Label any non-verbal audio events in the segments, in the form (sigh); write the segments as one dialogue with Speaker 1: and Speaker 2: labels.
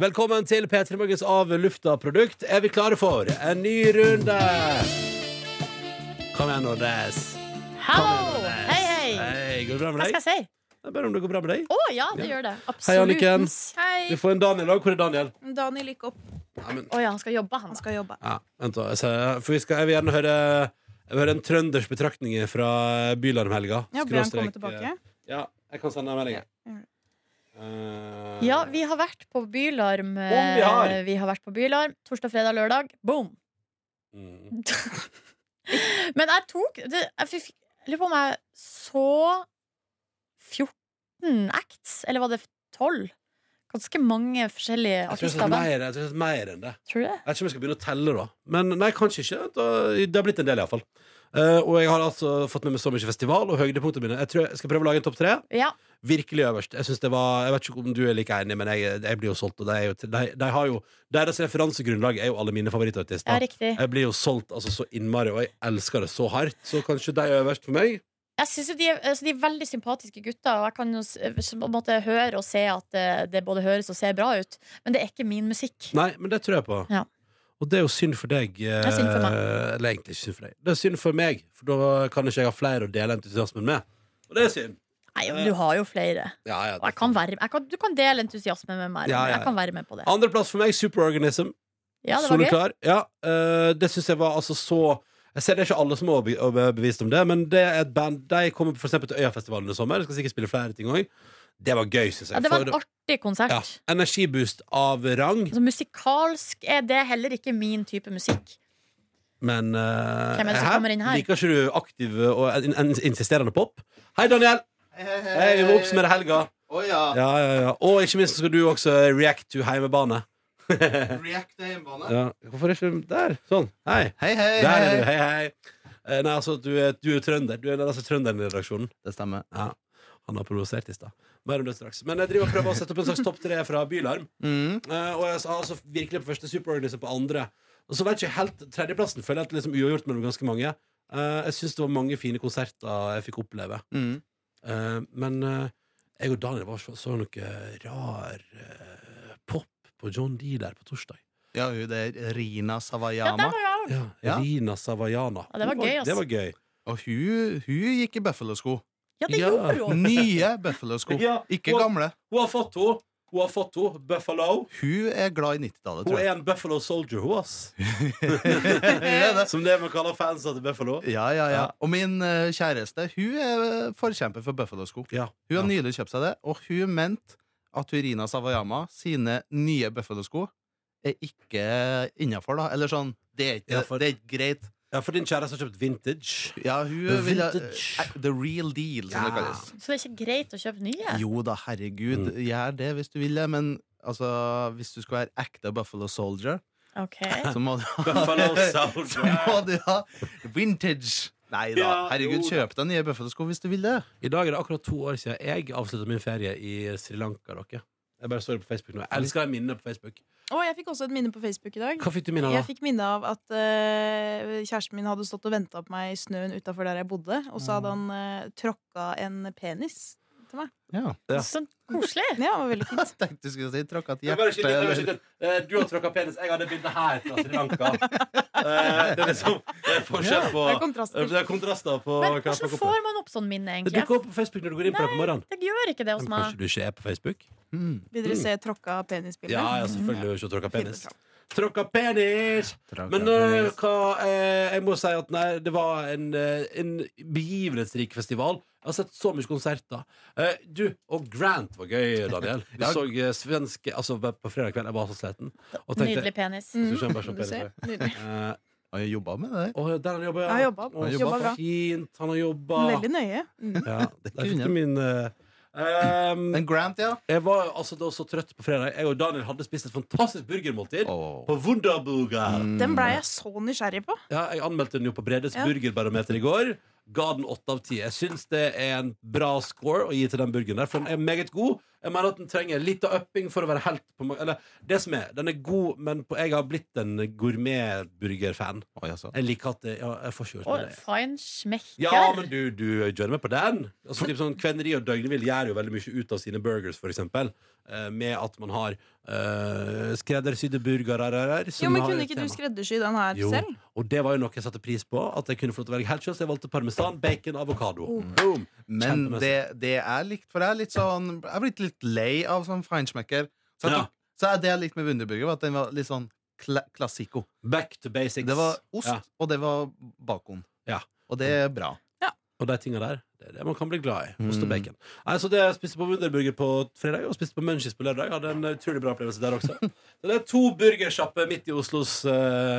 Speaker 1: Velkommen til P3 Morgens Av lufta produkt. Er vi klare for en ny runde? Kom igjen, Nordnes.
Speaker 2: Hallo! Hei, hei!
Speaker 1: Hei, går det bra
Speaker 2: Hva
Speaker 1: med
Speaker 2: skal
Speaker 1: deg?
Speaker 2: jeg si?
Speaker 1: Jeg ber om det går bra med deg.
Speaker 2: Å ja, det gjør det.
Speaker 1: Hei, Anniken.
Speaker 2: Absolutt.
Speaker 1: Du
Speaker 3: Hei.
Speaker 1: får en Daniel òg. Hvor er Daniel?
Speaker 3: Daniel gikk opp.
Speaker 1: Ja, men,
Speaker 2: Å ja, han skal jobbe, han.
Speaker 3: Han
Speaker 2: da.
Speaker 3: skal jobbe.
Speaker 1: ja, vent da, jeg ser- for vi skal, jeg vil gjerne høre jeg vil høre en trønders betraktninger fra Bylarmhelga.
Speaker 3: Ja, blir han kommet
Speaker 1: Skråstrek, eh,
Speaker 3: tilbake?
Speaker 1: Ja, jeg kan sende deg en melding.
Speaker 3: Ja.
Speaker 1: Eh,
Speaker 2: Ja, vi har vært på Bylarm.
Speaker 1: Om vi har.
Speaker 2: eh, Vi har vært på Bylarm torsdag, fredag, lørdag. Boom! (laughs)
Speaker 1: mm.
Speaker 2: Men jeg tok det, Jeg fikk- jeg lurer på om jeg så 14 acts, eller var det 12? Ganske mange forskjellige
Speaker 1: Jeg tror sånn jeg
Speaker 2: artister.
Speaker 1: har sett
Speaker 2: og band.
Speaker 1: mer, jeg tror jeg har sett mer enn det.
Speaker 2: Tror du det?
Speaker 1: Jeg vet ikke om jeg skal begynne å telle, da. Men nei, kanskje ikke. Da, det har blitt en del, iallfall. Uh, og jeg har altså fått med meg så mye festival og høydepunktene mine. Jeg tror jeg skal prøve å lage en topp tre.
Speaker 2: Ja.
Speaker 1: Virkelig øverst. Jeg, synes det var, jeg vet ikke om du er like enig, men jeg, jeg blir jo solgt. Og de, er jo, de, de har jo, deres referansegrunnlag er jo alle mine
Speaker 2: ja,
Speaker 1: favorittartister.
Speaker 2: riktig.
Speaker 1: Jeg blir jo solgt altså, så innmari, og jeg elsker det så hardt. Så kanskje de er øverst for meg.
Speaker 2: Jeg synes jo de, er, altså de er veldig sympatiske gutter, og jeg kan jo s- på en måte høre og se at eh, det både høres og ser bra ut, men det er ikke min musikk.
Speaker 1: Nei, men det tror jeg på.
Speaker 2: Ja.
Speaker 1: Og det er jo synd for deg. eh,
Speaker 2: er synd for meg.
Speaker 1: Eller egentlig ikke synd for deg. Det er synd for meg, for da kan ikke jeg ha flere å dele entusiasmen med. Og det er synd.
Speaker 2: Nei, men du har jo flere.
Speaker 1: Ja, ja,
Speaker 2: Og jeg kan være, jeg kan, du kan dele entusiasme med meg.
Speaker 1: Ja, ja, ja.
Speaker 2: Jeg kan være med på det.
Speaker 1: Andreplass for meg, Superorganism.
Speaker 2: Ja, det var gøy.
Speaker 1: Soleklar. Ja, eh, det syns jeg var altså så jeg ser Det er ikke alle som er overbe- overbevist om det, men det er et band de kommer for eksempel til Øyafestivalen i sommer. De Skal sikkert spille flere ting også. Det var gøy, syns jeg.
Speaker 2: Ja, det var
Speaker 1: For-
Speaker 2: en artig konsert.
Speaker 1: ja, energiboost av rang,
Speaker 2: Altså, musikalsk er det heller ikke min type musikk.
Speaker 1: men eh,
Speaker 2: Hvem er det som kommer inn her?
Speaker 1: Liker ikke du aktiv og in in insisterende pop? Hei, Daniel! Hei, vi må oppsummere helga.
Speaker 4: Å ja.
Speaker 1: Ja, ja, ja. Og ikke minst skal du også react to heimebane.
Speaker 4: React er hjemmebane.
Speaker 1: Ja. Hvorfor er ikke Der! Sånn. Hei.
Speaker 4: Hei, hei,
Speaker 1: Der er du, hei hei Eh, Nei, altså, du er, du er trønder Du er den eneste trønderen i redaksjonen
Speaker 4: Det stemmer.
Speaker 1: ja. Han har provosert i stad Mer om det straks Men jeg driver og prøver å sette opp en slags topp 3 fra Bylarm
Speaker 4: Mm.
Speaker 1: Eh, Og jeg har altså virkelig på første Superorganism på andre Og så vet jeg ikke helt Tredjeplassen føler jeg at det er liksom uavgjort mellom ganske mange Eh, Jeg synes det var mange fine konserter jeg fikk oppleve
Speaker 4: Mm.
Speaker 1: Eh, Men eh, jeg og Daniel var så, så noe rar eh, pop på John D der på torsdag
Speaker 4: Ja, hun der
Speaker 2: Ja,
Speaker 4: Rina
Speaker 2: det
Speaker 4: Savayama.
Speaker 2: var jo
Speaker 1: ja,
Speaker 4: Ja.
Speaker 1: Rina Savajana
Speaker 2: Ja, det var gøy, ass.
Speaker 1: Det var gøy
Speaker 4: Og hun, hun gikk i bøffelosko.
Speaker 2: Ja,
Speaker 1: (laughs)
Speaker 2: det
Speaker 1: Ja.
Speaker 2: gjorde jo
Speaker 4: Nye bøffelosko.
Speaker 1: Ja.
Speaker 4: Ikke gamle.
Speaker 1: Hun har fått henne. Hun har fått henne. Buffalo.
Speaker 4: Hun er glad i 90-tallet,
Speaker 1: Hun
Speaker 4: tror jeg.
Speaker 1: er en Buffalo Soldier, hun,
Speaker 4: (laughs)
Speaker 1: ass.
Speaker 4: Hun er det.
Speaker 1: Som det man kaller fansa til Buffalo.
Speaker 4: Ja, ja, ja.
Speaker 1: Ja.
Speaker 4: Og min eh, kjæreste hun er eh, forkjemper for bøffelosko.
Speaker 1: Ja.
Speaker 4: Hun har
Speaker 1: ja.
Speaker 4: nylig kjøpt seg det, og hun mente at hun Rina Savayama sine nye bøffelosko er ikke innafor, da. Eller sånn. Det er ikke,
Speaker 1: Ja, for-
Speaker 4: det er ikke greit.
Speaker 1: ja, for din kjæreste har kjøpt
Speaker 4: (laughs)
Speaker 1: vintage.
Speaker 4: Ja, hun
Speaker 1: The
Speaker 4: vil ha
Speaker 1: vintage.
Speaker 4: eh, The real deal, som det
Speaker 1: Ja.
Speaker 4: kalles.
Speaker 2: Så det er ikke greit å kjøpe nye?
Speaker 4: Jo da, herregud, gjør det hvis du vil det, men altså, hvis du skal være ekte Buffalo Soldier,
Speaker 2: Ok
Speaker 4: så må du (laughs)
Speaker 1: Buffalo
Speaker 4: ha, så må
Speaker 1: Soldier.
Speaker 4: du ha vintage. Nei da,
Speaker 1: Ja,
Speaker 4: herregud,
Speaker 1: jo da.
Speaker 4: kjøp deg nye Buffalo-sko hvis du vil det.
Speaker 1: I dag er det akkurat to år siden jeg avslutta min ferie i Sri Lanka. Dere. Jeg bare så det på Facebook nå. Jeg elsker de minnene på Facebook.
Speaker 3: Å, jeg fikk også et minne på Facebook i dag.
Speaker 1: Hva fikk du minne
Speaker 3: Jeg
Speaker 1: av? da?
Speaker 3: fikk minne av at eh, kjæresten min hadde stått og venta på meg i snøen utafor der jeg bodde, og så hadde han eh, tråkka en penis.
Speaker 4: Ja. (laughs)
Speaker 1: Ja.
Speaker 2: Så koselig!
Speaker 3: Ja, det var veldig
Speaker 1: (laughs)
Speaker 3: fint.
Speaker 4: Jeg tenkte du skulle si tråkka et
Speaker 1: Jeg bare
Speaker 4: hjerte.
Speaker 1: skyter, jeg bare
Speaker 4: eller-
Speaker 1: skyter. Eh, Du har tråkka penis. Jeg har det bildet her fra Sri
Speaker 3: (laughs)
Speaker 1: Lanka. Eh, Det er liksom det er forskjell på
Speaker 3: Det er kontraster.
Speaker 1: Det er kontraster på
Speaker 2: Men
Speaker 1: hva jeg
Speaker 2: hvordan
Speaker 1: snakker om.
Speaker 2: får man opp sånn minne,
Speaker 1: Det
Speaker 2: egentlig?
Speaker 1: dukker opp på Facebook når du går inn på det på morgenen.
Speaker 2: Det gjør ikke det hos
Speaker 1: Men
Speaker 2: meg.
Speaker 1: kanskje du ikke er på Facebook?
Speaker 4: Mm.
Speaker 3: Vil dere se tråkka penis-bildet?
Speaker 1: Ja, ja selvfølgelig har du ikke tråkka penis.
Speaker 3: Finner fram.
Speaker 1: Tråkka penis!
Speaker 4: Tråkka
Speaker 1: Men øh,
Speaker 4: penis.
Speaker 1: hva eh, Jeg må si at nei, det var en, eh, en begivenhetsrik festival. Jeg har sett så mye konserter. Eh, du, og Grant var gøy, Daniel. Vi
Speaker 4: Ja.
Speaker 1: så eh, svenske Altså, på fredag kveld, jeg var så sliten. Og
Speaker 2: Nydelig
Speaker 1: tenkte
Speaker 2: penis.
Speaker 1: Så kommer bare sånn
Speaker 3: Mm, du ser.
Speaker 1: (laughs)
Speaker 3: Nydelig.
Speaker 1: eh,
Speaker 4: Og jeg jobba med det.
Speaker 1: Å, der han jobber,
Speaker 3: Jeg har jobba.
Speaker 1: Å,
Speaker 4: Jeg
Speaker 1: så
Speaker 4: jobba bra.
Speaker 1: Fint. Han har jobba.
Speaker 3: Veldig nøye. Mm.
Speaker 1: Ja, det
Speaker 4: ikke
Speaker 1: er
Speaker 4: unna.
Speaker 1: ikke min (clears throat) eh, ehm,
Speaker 4: En Grant, ja.
Speaker 1: Jeg var altså da så trøtt på fredag. Jeg og Daniel hadde spist et fantastisk burgermåltid. På Wunderburger.
Speaker 3: Den blei jeg så nysgjerrig på.
Speaker 1: Ja, jeg anmeldte den jo på Bredes
Speaker 3: Ja.
Speaker 1: burgerbarometer i går. Ga den åtte av ti. Jeg syns det er en bra score å gi til den burgeren der, for den er meget god. Jeg mener at den trenger litt av upping for å være helt på ma- Eller det som er, den er god, men på, jeg har blitt en gourmetburgerfan.
Speaker 4: Oi, altså.
Speaker 1: Jeg liker at det, ja, jeg får ikke gjort med
Speaker 2: Og
Speaker 1: det.
Speaker 2: fein smekker.
Speaker 1: Ja, men du, du joiner meg på den. Altså, typ sånn, Kveneri og døgnvill gjør jo veldig mye ut av sine burgers, for eksempel. Eh, med at man har eh, skreddersydde burgere som
Speaker 3: Jo, men
Speaker 1: har
Speaker 3: Kunne
Speaker 1: et
Speaker 3: ikke
Speaker 1: tema.
Speaker 3: du skreddersy den her
Speaker 1: Jo.
Speaker 3: selv?
Speaker 1: Og det var jo noe jeg satte pris på. At jeg kunne få lov til å velge helt selv, så jeg valgte parmesan, bacon, avokado.
Speaker 3: Mm.
Speaker 1: Boom!
Speaker 4: Men
Speaker 1: Kjempemessig.
Speaker 4: det, det er likt, for jeg er litt sånn Jeg er blitt litt lei av sånn feinschmecker. Så, jeg
Speaker 1: Ja.
Speaker 4: tok- så er det jeg likte med Wunderburger, var at den var litt sånn kla klassiko.
Speaker 1: Back to basics.
Speaker 4: Det var ost,
Speaker 1: Ja.
Speaker 4: og det var bacon.
Speaker 1: Ja.
Speaker 4: Og det er bra.
Speaker 1: Og de tinga der, det er det man kan bli glad i. Ost og
Speaker 4: Mm.
Speaker 1: bacon. Nei, så det jeg spiste på Wunderburger på fredag, og spiste på Munchies på lørdag. Hadde en utrolig bra opplevelse der også. så det er to burgersjapper midt i Oslos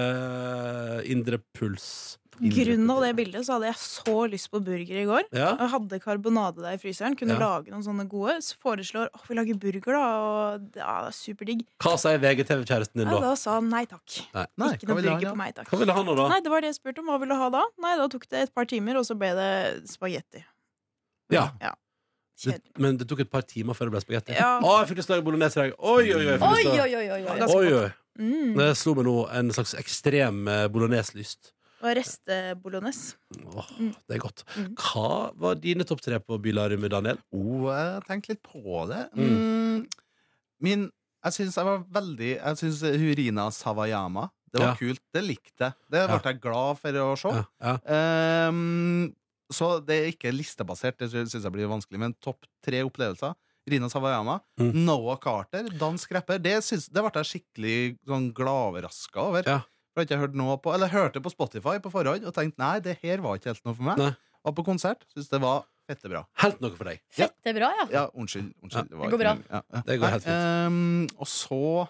Speaker 1: eh, indre puls.
Speaker 3: På grunn av det bildet så hadde jeg så lyst på burger i går.
Speaker 1: Ja.
Speaker 3: Og hadde karbonade der i fryseren. Kunne
Speaker 1: Ja.
Speaker 3: lage noen sånne gode. Så foreslår at vi lager burger, da. Og det ja, det er superdigg.
Speaker 1: Hva sier VGTV-kjæresten din
Speaker 3: Ja,
Speaker 1: da?
Speaker 3: da sa han nei takk.
Speaker 1: Nei.
Speaker 4: Nei,
Speaker 3: ikke
Speaker 4: hva
Speaker 3: noe
Speaker 4: vil du ha,
Speaker 3: burger
Speaker 4: ja?
Speaker 3: på meg, takk.
Speaker 1: Hva ville han nå, da?
Speaker 3: Nei, det var det jeg spurte om. Hva vil du ha da? Nei, da tok det et par timer, og så ble det spagetti.
Speaker 1: Ja. Det,
Speaker 3: Kjedelig.
Speaker 1: men det tok et par timer før det ble spagetti.
Speaker 3: Ja.
Speaker 1: Å, jeg fikk lyst til å lage bolognese i dag. Oi, oi, oi! jeg fikk lyst
Speaker 2: Oi,
Speaker 1: til å-
Speaker 2: oi, oi, oi, oi.
Speaker 1: Oi, oi.
Speaker 3: Mm.
Speaker 1: Det slo meg nå en slags ekstrem eh, bolognese-lyst.
Speaker 3: Og restebolognese.
Speaker 1: Åh,
Speaker 3: Mm.
Speaker 1: Det er godt.
Speaker 3: Mm.
Speaker 1: Hva var dine topp tre på bylarmet, Daniel?
Speaker 4: Oh, jeg tenkte litt på det. Mm. Min Jeg syns jeg var veldig Jeg syns Hurina Sawayama Det var
Speaker 1: Ja.
Speaker 4: kult. Det likte jeg. Det ble
Speaker 1: Ja.
Speaker 4: jeg glad for å se.
Speaker 1: Ja, ja.
Speaker 4: Ehm, så det er ikke listebasert, det syns jeg blir vanskelig, men topp tre opplevelser. Rina Sawayama,
Speaker 1: Mm.
Speaker 4: Noah Carter, dansk rapper. Det, syns- det ble jeg skikkelig sånn gladoverraska over.
Speaker 1: Ja.
Speaker 4: For jeg har ikke hørt noe på, eller jeg hørte på Spotify på forhånd og tenkte nei, det her var ikke helt noe for meg.
Speaker 1: Nei.
Speaker 4: Var på konsert, syns det var fette bra.
Speaker 1: Helt noe for deg.
Speaker 2: Fett, det er bra, ja.
Speaker 4: Ja, unnskyld. unnskyld var
Speaker 2: går
Speaker 4: ikke min- Ja.
Speaker 1: Det går helt fint.
Speaker 4: ehm, og så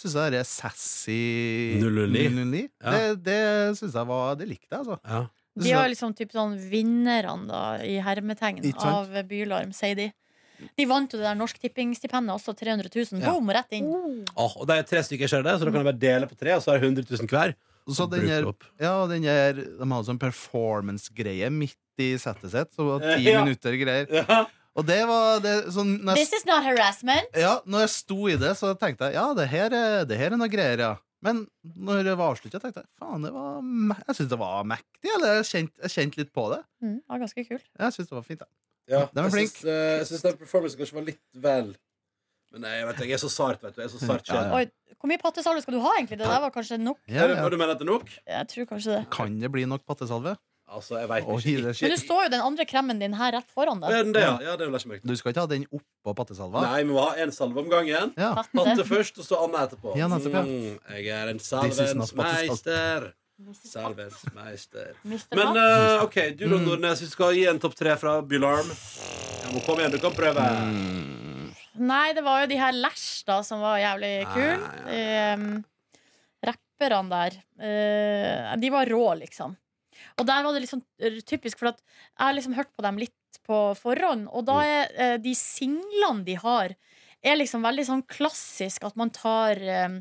Speaker 4: syns jeg det er sassy
Speaker 1: 009.
Speaker 4: 009.
Speaker 1: Ja.
Speaker 4: Det, det syns jeg var Det likte jeg, altså.
Speaker 1: Ja.
Speaker 4: Det
Speaker 2: De
Speaker 4: synes
Speaker 2: var
Speaker 4: jeg-
Speaker 2: liksom typ sånn vinnerne, da, i hermetegn
Speaker 4: Ikke sant?
Speaker 2: av Bylarm, sier de. De vant jo det der Norsk Tipping-stipendet også, 300 000.
Speaker 4: Ja.
Speaker 2: Boom, rett
Speaker 3: Oh,
Speaker 2: inn.
Speaker 1: Åh, og det er tre stykker, ser du det, så da kan jeg bare dele på tre, og så er det 100 000 hver.
Speaker 4: Så den
Speaker 1: Bruker
Speaker 4: her
Speaker 1: opp.
Speaker 4: Ja, og den der, de hadde sånn performance-greie midt i settet sitt. Så det var
Speaker 1: (laughs)
Speaker 4: ti
Speaker 1: Ja.
Speaker 4: minutter greier.
Speaker 1: Ja.
Speaker 4: Og det var det, sånn når
Speaker 2: This
Speaker 4: jeg,
Speaker 2: is not harassment.
Speaker 4: ja, når jeg sto i det, så tenkte jeg ja, det her er, det her er noe greier, ja. Men når det var avslutta, tenkte jeg faen, det var, me- jeg syns det var mektig. Eller jeg kjente, jeg kjente litt på det.
Speaker 2: Mm, det var ganske kult.
Speaker 4: Jeg syns det var fint. Ja.
Speaker 1: Ja,
Speaker 4: Den var
Speaker 1: jeg
Speaker 4: flink.
Speaker 1: syns, eh, jeg syns den performancen kanskje var litt vel Men nei, jeg vet ikke, jeg er så sart, vet du. Jeg er så sart sjel.
Speaker 4: Ja,
Speaker 2: Oi, hvor mye pattesalve skal du ha, egentlig? Det der var kanskje nok.
Speaker 4: Ja,
Speaker 1: Er det-
Speaker 4: ja.
Speaker 1: Du mener at det er nok?
Speaker 2: Jeg tror kanskje det.
Speaker 4: Kan det bli nok pattesalve?
Speaker 1: Altså, jeg vet
Speaker 4: Oi,
Speaker 1: ikke.
Speaker 4: det
Speaker 2: Men
Speaker 4: skjer.
Speaker 2: det står jo den andre kremen din her rett foran
Speaker 1: Er
Speaker 2: deg.
Speaker 1: den det, ja? ja det vil jeg ikke merke.
Speaker 4: Du skal ikke ha den oppå pattesalva?
Speaker 1: Nei, vi må ha en salve om gangen.
Speaker 4: Ja.
Speaker 1: Matte
Speaker 2: Patte.
Speaker 1: først, og så Anne etterpå.
Speaker 4: Ja, nettopp, ja.
Speaker 1: Mm, jeg er en
Speaker 4: not
Speaker 1: salvens
Speaker 4: Mattes
Speaker 1: meister. Salvens meister.
Speaker 2: Mr.
Speaker 1: Men
Speaker 2: Matt.
Speaker 1: eh, OK, du da, Nordnes, vi skal gi en topp tre fra Bylarm. Ja, men kom igjen, du kan prøve.
Speaker 4: Mm.
Speaker 2: Nei, det var jo de her Lash da som var jævlig kul
Speaker 1: Ah,
Speaker 2: Ehm, Rapperne der eh, De var rå liksom Og der var det liksom eh, typisk For at jeg har liksom hørt på dem litt på forhånd Og da er eh, de singlene de har Er liksom veldig sånn klassisk At man tar eh,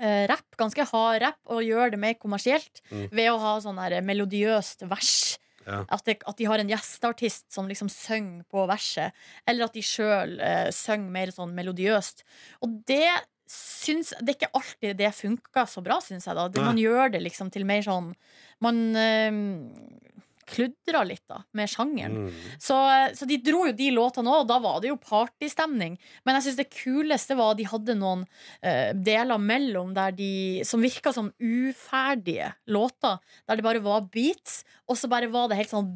Speaker 2: eh, rapp, ganske hard rapp Og gjør det mer kommersielt
Speaker 1: Mm.
Speaker 2: Ved å ha sånn her melodiøst vers
Speaker 1: Ja.
Speaker 2: at, det, at de har en gjesteartist som liksom synger på verset, eller at de sjøl eh, synger mer sånn melodiøst. Og det syns Det er ikke alltid det funker så bra, syns jeg, da. Det,
Speaker 1: Nei.
Speaker 2: man gjør det liksom til mer sånn Man eh, kludrer litt, da, med sjangeren.
Speaker 1: Mm.
Speaker 2: Så, så de dro jo de låtene òg, og da var det jo partystemning. Men jeg syns det kuleste var at de hadde noen eh, deler mellom der de, som virka som uferdige låter. Der det bare var beats, og så bare var det helt sånn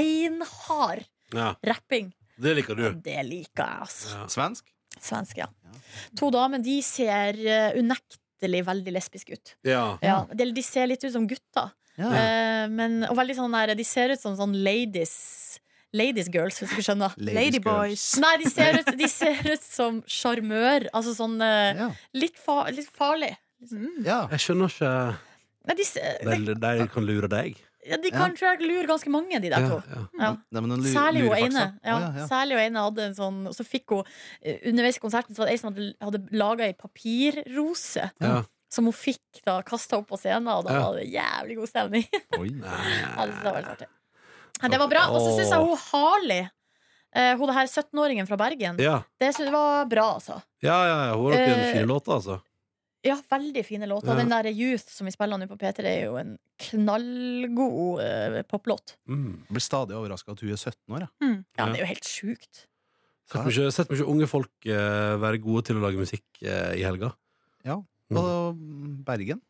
Speaker 2: beinhard
Speaker 1: Ja,
Speaker 2: rapping.
Speaker 1: det liker du.
Speaker 2: Og det liker jeg, altså.
Speaker 1: Ja.
Speaker 4: Svensk?
Speaker 2: Svensk, ja.
Speaker 4: Ja.
Speaker 2: To damer, de ser eh, unektelig veldig lesbiske ut.
Speaker 1: ja.
Speaker 2: Ja. De, de ser litt ut som gutter.
Speaker 4: Ja.
Speaker 2: Eh, men, og veldig sånn der, de ser ut som sånn ladies Ladies girls, hvis du skjønner.
Speaker 3: Ladyboys.
Speaker 2: (laughs) Nei, de ser ut, de ser ut som sjarmør. Altså sånn eh,
Speaker 4: Ja.
Speaker 2: litt, fa litt farlig.
Speaker 3: Mm.
Speaker 4: ja.
Speaker 1: Jeg skjønner ikke
Speaker 2: Nei, de, ser- de,
Speaker 1: De, de kan lure deg.
Speaker 2: ja, de kan tror jeg lure ganske mange, de der
Speaker 1: Ja,
Speaker 2: to.
Speaker 1: ja.
Speaker 2: Ja.
Speaker 4: Nei, men noen lu-
Speaker 2: Særlig hun ene.
Speaker 4: lurefaksa.
Speaker 2: Ja,
Speaker 4: Å, ja, ja.
Speaker 2: Særlig hun ene hadde en sånn Og så fikk hun eh, underveis i konserten Så var det ei som hadde, hadde laga ei papirrose.
Speaker 1: Ja.
Speaker 2: Som hun fikk da kasta opp på scenen, og da
Speaker 1: Ja.
Speaker 2: var det jævlig god stemning. (laughs)
Speaker 4: Oi.
Speaker 2: Altså, Ja, det, synes jeg var veldig artig. Ja, det var bra. Og så syns jeg hun Harley Eh, hun det her 17-åringen fra Bergen.
Speaker 1: Ja,
Speaker 2: Det sy- var bra, altså.
Speaker 1: ja, ja, ja. hun har nok en
Speaker 2: Eh,
Speaker 1: fin låt, altså.
Speaker 2: Ja, veldig fine låter.
Speaker 1: Ja.
Speaker 2: Den der Youth som vi spiller nå på P3, er jo en knallgod eh, poplåt.
Speaker 1: Mm.
Speaker 4: Jeg blir stadig overraska at hun er 17 år. Ja.
Speaker 2: Ja,
Speaker 1: Ja.
Speaker 2: det er jo helt sjukt.
Speaker 1: Sett mye, sett mye unge folk eh, være gode til å lage musikk eh, i helga.
Speaker 4: Og Bergen.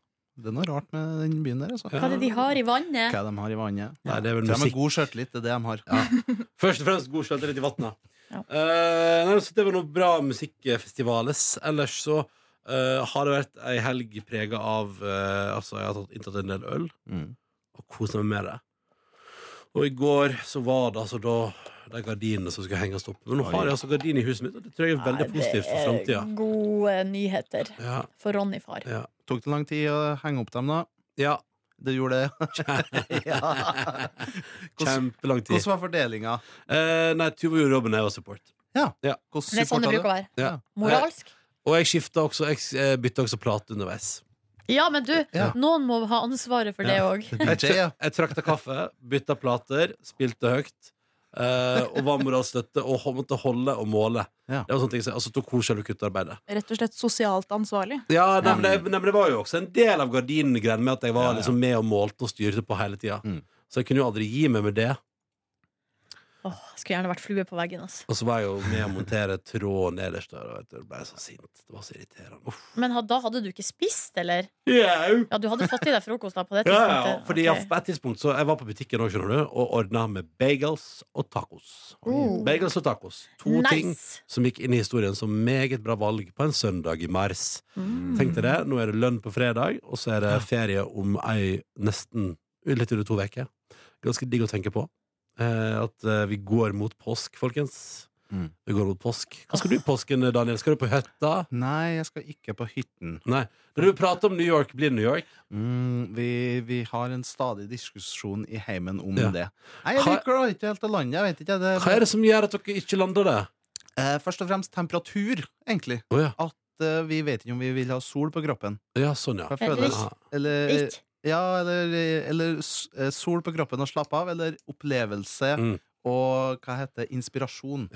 Speaker 4: Det er noe rart med den byen der. Altså.
Speaker 1: Ja.
Speaker 2: Hva er det de har i vannet?
Speaker 4: Hva de har i vannet.
Speaker 1: Nei, det er vel
Speaker 4: de
Speaker 1: musikk.
Speaker 4: har god sjøltillit, det er det de har.
Speaker 1: Først og fremst god skjønte litt i vattnet
Speaker 2: Ja.
Speaker 1: Eh, nei, så det var noe bra musikkfestivales Ellers så eh, har det vært ei helg preget av eh, Altså, jeg har tatt, inntatt en del øl
Speaker 4: Mm.
Speaker 1: Og koset meg med det Og i går så var det altså da De gardinene som skulle henges opp Men nå
Speaker 4: Oi.
Speaker 1: har jeg altså gardin i huset mitt Og det tror jeg er
Speaker 2: Nei,
Speaker 1: veldig positivt for
Speaker 2: Det er
Speaker 1: fremtiden
Speaker 2: gode eh, nyheter
Speaker 1: Ja,
Speaker 2: for Ronny far.
Speaker 1: ja,
Speaker 4: Tok det lang tid å henge opp dem, da?
Speaker 2: (laughs)
Speaker 1: ja
Speaker 4: Det
Speaker 1: (laughs)
Speaker 4: gjorde det. ja. Hvordan,
Speaker 1: kjempelang tid
Speaker 4: hvordan var fordelinga?
Speaker 1: Eh, Nei, Tuva gjorde jobben jeg var support
Speaker 4: Hvordan
Speaker 2: Det er sånn det
Speaker 4: supporta
Speaker 2: bruker å være.
Speaker 1: Ja.
Speaker 2: Moralsk.
Speaker 1: Og jeg skiftet også, jeg eh, byttet også plate underveis
Speaker 2: Ja, men du,
Speaker 4: Ja.
Speaker 2: noen må ha ansvaret for det
Speaker 1: Ja.
Speaker 2: òg.
Speaker 4: du? DJ, ja.
Speaker 1: Jeg trakta kaffe, bytta plater, spilte høyt. eh, og var moralstøtte og ho- måtte holde og måle.
Speaker 4: Ja.
Speaker 1: Det var sånne ting som, Og så tok hun selv kuttarbeidet.
Speaker 3: Rett og slett sosialt ansvarlig.
Speaker 1: Ja, nei, men det, nei, men det var jo også en del av gardingreiene med at jeg var
Speaker 4: Ja, ja.
Speaker 1: Liksom, med og målte og styrte på hele tida.
Speaker 4: Mm.
Speaker 1: Så jeg kunne jo aldri gi meg med det.
Speaker 2: Åh, skulle gjerne vært flue på veggen. ass.
Speaker 1: Og så var jeg jo med å montere tråd nederst der. Og vet du, jeg ble så sint. Det var så irriterende. Uff.
Speaker 2: Men ha- da hadde du ikke spist, eller?
Speaker 1: Jau.
Speaker 2: Ja, du hadde fått i deg frokost da på det
Speaker 1: Ja, ja,
Speaker 2: tidspunktet?
Speaker 1: ja, fordi jeg,
Speaker 2: Ok.
Speaker 1: på et tidspunkt så jeg var på butikken også, skjønner du, og ordna med bagels og tacos.
Speaker 2: Oh.
Speaker 1: Bagels og tacos. To ting
Speaker 2: Nice!
Speaker 1: som gikk inn i historien som meget bra valg på en søndag i mars.
Speaker 2: Mm.
Speaker 1: Tenk deg det,
Speaker 4: Mm.
Speaker 1: nå er det lønn på fredag, og så er det ferie om ei nesten litt under to uker. Ganske digg å tenke på. Eh, at eh, vi går mot påsk, folkens.
Speaker 4: Mm.
Speaker 1: Vi går mot påsk. Hva skal du i påsken, Daniel? Skal du på hytta?
Speaker 4: Nei, jeg skal ikke på hytten.
Speaker 1: Nei. Når du prater om New York, blir det New York.
Speaker 4: Mm, vi, vi har en stadig diskusjon i heimen om
Speaker 1: Ja.
Speaker 4: det. Nei, jeg
Speaker 1: Hva-
Speaker 4: liker det ikke helt til landet. Jeg vet ikke, det,
Speaker 1: Hva er det som gjør at dere ikke lander det?
Speaker 4: Eh, først og fremst temperatur, egentlig.
Speaker 1: Å ja.
Speaker 4: Det- eh, Vi vet ikke om vi vil ha sol på kroppen.
Speaker 1: ja, sånn, ja.
Speaker 4: Hva fødes?
Speaker 1: Ja.
Speaker 4: Eller,
Speaker 2: Ikke?
Speaker 4: ja, eller, eller s- eh, sol på kroppen og slappe av, eller opplevelse
Speaker 1: Mm.
Speaker 4: og hva heter det, inspirasjon.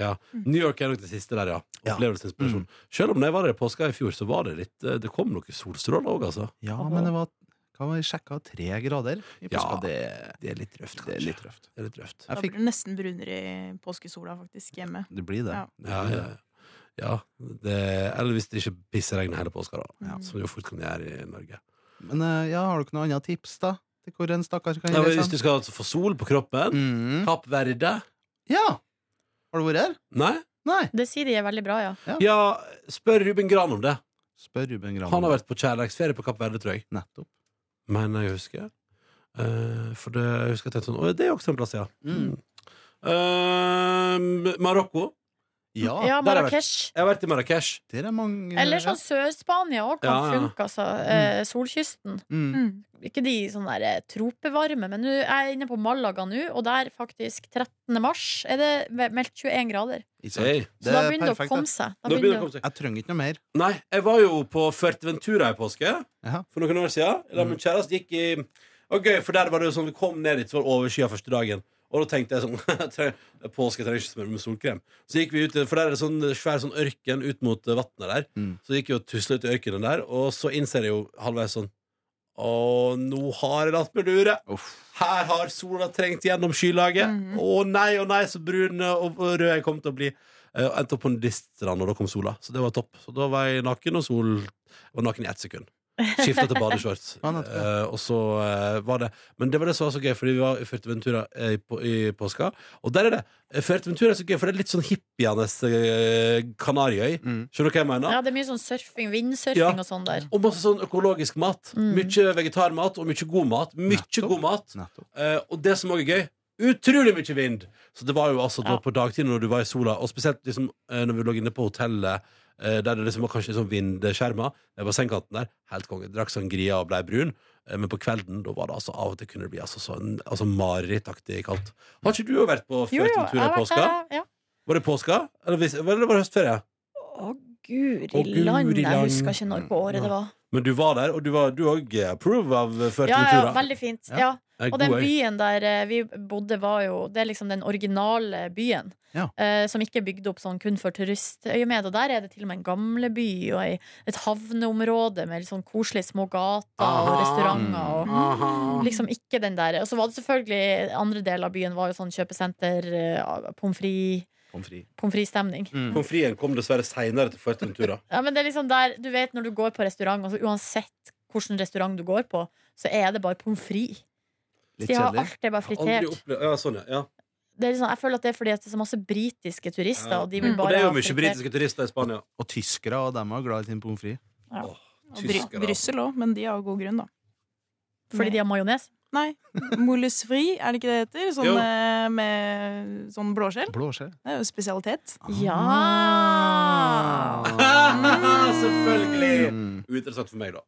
Speaker 1: New York er nok det siste der, ja.
Speaker 4: Ja. Mm.
Speaker 1: Opplevelsesinspirasjon. Selv om da jeg var der i påska i fjor, så var det litt eh, Det kom noen solstråler òg, altså.
Speaker 4: Ja,
Speaker 2: Aha.
Speaker 4: men det var hva var det, sjekka tre grader i
Speaker 1: Ja.
Speaker 4: påska. Det,
Speaker 1: Det er litt røft,
Speaker 4: Eh, det er litt røft.
Speaker 1: Det er litt røft.
Speaker 3: Da
Speaker 4: Jeg
Speaker 3: blir
Speaker 4: fikk,
Speaker 3: det nesten brunere i påskesola faktisk hjemme.
Speaker 4: det blir det.
Speaker 3: Ja.
Speaker 1: Ja, ja, ja. ja det, eller hvis det ikke pisseregner hele påska, da.
Speaker 3: Ja.
Speaker 1: Som det jo fort kan gjøre i Norge.
Speaker 4: Men eh, ja, har dere noen andre tips, da? Til hvor en stakkar kan
Speaker 1: Ja, men hvis
Speaker 4: reise?
Speaker 1: du skal altså få sol på kroppen
Speaker 4: Mm.
Speaker 1: Kapp Verde?
Speaker 4: Ja! Har du vært her?
Speaker 1: Nei?
Speaker 4: Nei.
Speaker 2: Det sier de er veldig bra, ja.
Speaker 1: Ja, spør Ruben Gran om det.
Speaker 4: Spør Ruben Gran.
Speaker 1: Han har vært på kjærlighetsferie på Kapp Verde, tror jeg.
Speaker 4: Nettopp.
Speaker 1: Mener jeg husker. Eh, for det, jeg husker at jeg tenkte sånn Å, det er jo også en plass, ja.
Speaker 4: Mm.
Speaker 1: Eh, Marokko. der har
Speaker 2: Ja,
Speaker 4: Ja,
Speaker 1: jeg vært.
Speaker 2: Marrakech.
Speaker 1: Jeg har vært i Marrakech.
Speaker 4: det er mange
Speaker 2: Eller sånn Sør-Spania òg kan
Speaker 1: Ja, ja.
Speaker 2: funke, altså. Eh, solkysten.
Speaker 4: ja. mm.
Speaker 3: Mm.
Speaker 2: Ikke de sånn der eh, tropevarme, men nå jeg er jeg inne på Malaga nå, og der faktisk 13. mars er det ve- meldt 21 grader.
Speaker 4: Ikke sant?
Speaker 1: Hey.
Speaker 2: Så
Speaker 4: Det
Speaker 2: da
Speaker 4: er
Speaker 2: begynner det å
Speaker 4: perfekt,
Speaker 2: komme
Speaker 4: det.
Speaker 2: seg. Da
Speaker 1: Nå begynner det å
Speaker 2: begynner det å-
Speaker 1: komme seg
Speaker 4: Jeg trenger ikke noe mer.
Speaker 1: Nei, jeg var jo på Fuerteventura i påske
Speaker 4: Jaha.
Speaker 1: For noen år siden Da
Speaker 4: Mm.
Speaker 1: min kjæreste gikk i Og gøy, for der var det jo sånn Vi kom ned dit, så var det overskyet første dagen Og da tenkte jeg sånn (laughs) jeg trenger- Påske trenger ikke smør med solkrem Så gikk vi ut, for der er det sånn svær sånn ørken Ut mot eh, vattnet der
Speaker 4: Mm.
Speaker 1: Så gikk jeg og tuslet ut i ørkenen der Og så innser jeg jo halvveis sånn Åh, nå har jeg latt meg lure
Speaker 4: Uff.
Speaker 1: her har sola trengt gjennom skylaget.
Speaker 3: Mhm.
Speaker 1: Å nei, å nei, så brun eh, og og rød jeg kom til å bli. Eh, og endte opp på nudiststrand, og da kom sola. Så det var topp. Så da var jeg naken, og sol jeg var naken i ett sekund. Skifta til
Speaker 2: (laughs)
Speaker 1: badeshorts.
Speaker 4: Ja, nettopp, ja.
Speaker 1: Eh, og så eh, var det Men det var det som var så gøy, fordi vi var i Fuerteventura eh, i, på, i påska. Og der er det. eh, Fuerteventura er så gøy, for det er litt sånn hippienes eh, Kanariøy.
Speaker 4: Mm.
Speaker 1: Skjønner du hva jeg mener?
Speaker 2: Ja, det er mye sånn surfing, vindsurfing
Speaker 1: Ja.
Speaker 2: og sånn der.
Speaker 1: Og masse sånn økologisk mat.
Speaker 2: Mm.
Speaker 1: Mye vegetarmat, og mye god mat. Mye
Speaker 4: Nettopp.
Speaker 1: god mat.
Speaker 4: Nettopp.
Speaker 1: Eh, og det som også er gøy, utrolig mye vind! Så det var jo altså da
Speaker 2: Ja.
Speaker 1: på dagtid når du var i sola, og spesielt liksom, eh, når vi lå inne på hotellet, eh, der det liksom var kanskje sånn vindskjermer, det var sengkanten der, helt konge. Drakk sangria og blei brun. Eh, men på kvelden, da var det altså av og til kunne det bli altså, sånn, altså marerittaktig kaldt. Har ikke du jo vært på
Speaker 2: Jo, jo, jeg
Speaker 1: fjørtentur i
Speaker 2: har vært
Speaker 1: påska?
Speaker 2: der, ja.
Speaker 1: Var det påska? Eller, hvis, eller var det høstferie?
Speaker 2: Å, guri
Speaker 1: Å, guri
Speaker 2: land! Jeg
Speaker 1: land.
Speaker 2: husker ikke når på året det var.
Speaker 1: Men du var der, og du var- du òg approve av
Speaker 2: Ja, ja,
Speaker 1: førtentura.
Speaker 2: veldig fint.
Speaker 4: Ja.
Speaker 2: Ja.
Speaker 1: Eh,
Speaker 2: Og
Speaker 1: god
Speaker 2: den
Speaker 1: øy.
Speaker 2: byen der eh, vi bodde, var jo Det er liksom den originale byen.
Speaker 4: Ja.
Speaker 2: eh, som ikke er bygd opp sånn kun for turistøyemed. Og der er det til og med en gamleby og ei, et havneområde med litt sånn koselige små gater og
Speaker 1: Aha.
Speaker 2: restauranter. Og,
Speaker 1: Aha.
Speaker 2: Liksom ikke den der Og så var det selvfølgelig Andre del av byen var jo sånn kjøpesenter eh, Pommes frites
Speaker 4: Pommes frites.
Speaker 2: pommes frites-stemning
Speaker 4: Mm.
Speaker 1: Pomfrien kom dessverre seinere til Fuerteventura.
Speaker 2: Ja, men det er liksom der Du vet når du går på restaurant altså, Uansett hvilken restaurant du går på Så er det bare pommes frites
Speaker 4: Litt
Speaker 2: De har
Speaker 4: kjedelig.
Speaker 2: alt det er bare
Speaker 1: Jeg har aldri
Speaker 2: fritert
Speaker 1: opplevd- Ja, sånn, ja. ja.
Speaker 2: det er liksom, Jeg føler at det er fordi at det er så masse britiske turister
Speaker 1: Ja.
Speaker 2: Og de vil
Speaker 3: Mm.
Speaker 1: Og
Speaker 2: bare
Speaker 1: det er
Speaker 2: ha
Speaker 1: jo mye
Speaker 2: fritert.
Speaker 1: britiske turister i Spania.
Speaker 4: Og tyskere og dem er glad i sin pommes frites.
Speaker 2: Ja.
Speaker 1: Åh,
Speaker 3: Og Bry
Speaker 1: tyskere.
Speaker 3: Brussel òg, men de har jo god grunn, da.
Speaker 2: Fordi de har majones
Speaker 3: Nei, moules fri, er det ikke det det heter? Sånn
Speaker 1: Jo.
Speaker 3: eh, med sånn blåskjell.
Speaker 4: Blåskjell.
Speaker 3: Det er jo spesialitet.
Speaker 1: Ah.
Speaker 2: Ja
Speaker 1: (laughs) Selvfølgelig!
Speaker 4: Mm.
Speaker 1: Uinteressant for meg, da.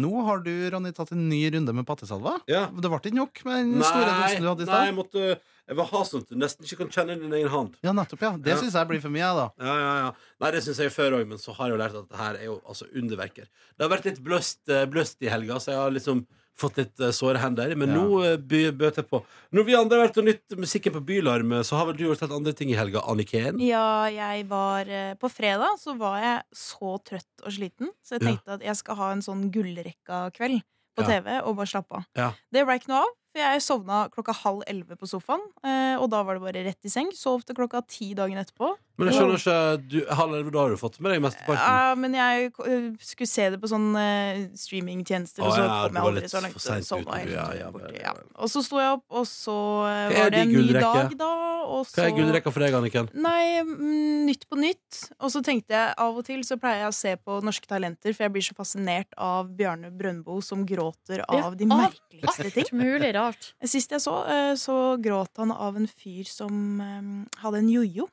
Speaker 4: Nå har du, Ronny, tatt en ny runde med pattesalva.
Speaker 1: Ja.
Speaker 4: Det ble ikke nok med den store
Speaker 1: Nei,
Speaker 4: dosen du hadde i
Speaker 1: nei, jeg
Speaker 4: stad.
Speaker 1: måtte Jeg vil ha sånn at du nesten ikke kan kjenne din egen hand.
Speaker 4: Ja, nettopp, ja. Det
Speaker 1: Ja.
Speaker 4: syns jeg blir for mye, jeg, da.
Speaker 1: Ja, ja, ja. Nei, det syns jeg før òg, men så har jeg jo lært at det her er jo altså underverker. Det har vært litt bløst, eh, bløst i helga, så jeg har liksom fått litt eh, såre hender. Men
Speaker 4: Ja.
Speaker 1: nå eh, by, bøter jeg på. Når vi andre har vært og nytt musikken på Bylarm, eh, så har vel du gjort helt andre ting i helga, Anniken?
Speaker 3: Ja, jeg var eh, På fredag så var jeg så trøtt og sliten, så jeg
Speaker 1: Ja.
Speaker 3: tenkte at jeg skal ha en sånn gullrekka kveld
Speaker 1: Ja.
Speaker 3: på TV og bare slappe av.
Speaker 1: Ja.
Speaker 3: Det ble ikke noe av, for jeg sovna klokka halv elleve på sofaen, eh, og da var det bare rett i seng. Sov til klokka ti dagen etterpå.
Speaker 1: Men jeg skjønner ikke du, Halv elleve, da har du fått med deg mesteparten?
Speaker 3: Ja, men jeg eh, skulle se det på sånn eh, streamingtjenester, og
Speaker 1: Å,
Speaker 3: så
Speaker 1: ja,
Speaker 3: kom
Speaker 1: du
Speaker 3: jeg
Speaker 1: var
Speaker 3: aldri
Speaker 1: litt
Speaker 3: så langt.
Speaker 1: for sent
Speaker 3: sovna
Speaker 1: ute,
Speaker 3: helt
Speaker 1: ja, ja,
Speaker 3: borti,
Speaker 1: ja.
Speaker 3: ja. Og så sto jeg opp, og så eh,
Speaker 1: Hva er
Speaker 3: var
Speaker 1: de
Speaker 3: det en ny
Speaker 1: gullrekke?
Speaker 3: dag, da. Og så
Speaker 1: Hva er gullrekka for deg, Anniken?
Speaker 3: Nei, mm, Nytt på nytt. Og så tenkte jeg av og til så pleier jeg å se på Norske Talenter, for jeg blir så fascinert av Bjarne Brøndbo som gråter av
Speaker 2: Ja,
Speaker 3: de
Speaker 2: av
Speaker 3: merkeligste ting.
Speaker 2: Alt mulig rart
Speaker 3: Sist jeg så, eh, så gråt han av en fyr som eh, hadde en jojo.